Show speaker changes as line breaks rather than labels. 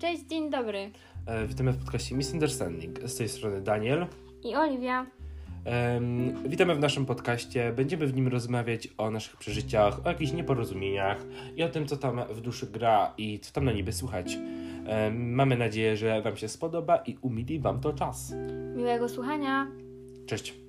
Cześć, dzień dobry.
E, Witamy w podcaście Misunderstanding. Z tej strony Daniel.
I Oliwia.
Em, witamy w naszym podcaście. Będziemy w nim rozmawiać o naszych przeżyciach, o jakichś nieporozumieniach i o tym, co tam w duszy gra i co tam na niby słychać. Em, mamy nadzieję, że Wam się spodoba i umili Wam to czas.
Miłego słuchania.
Cześć!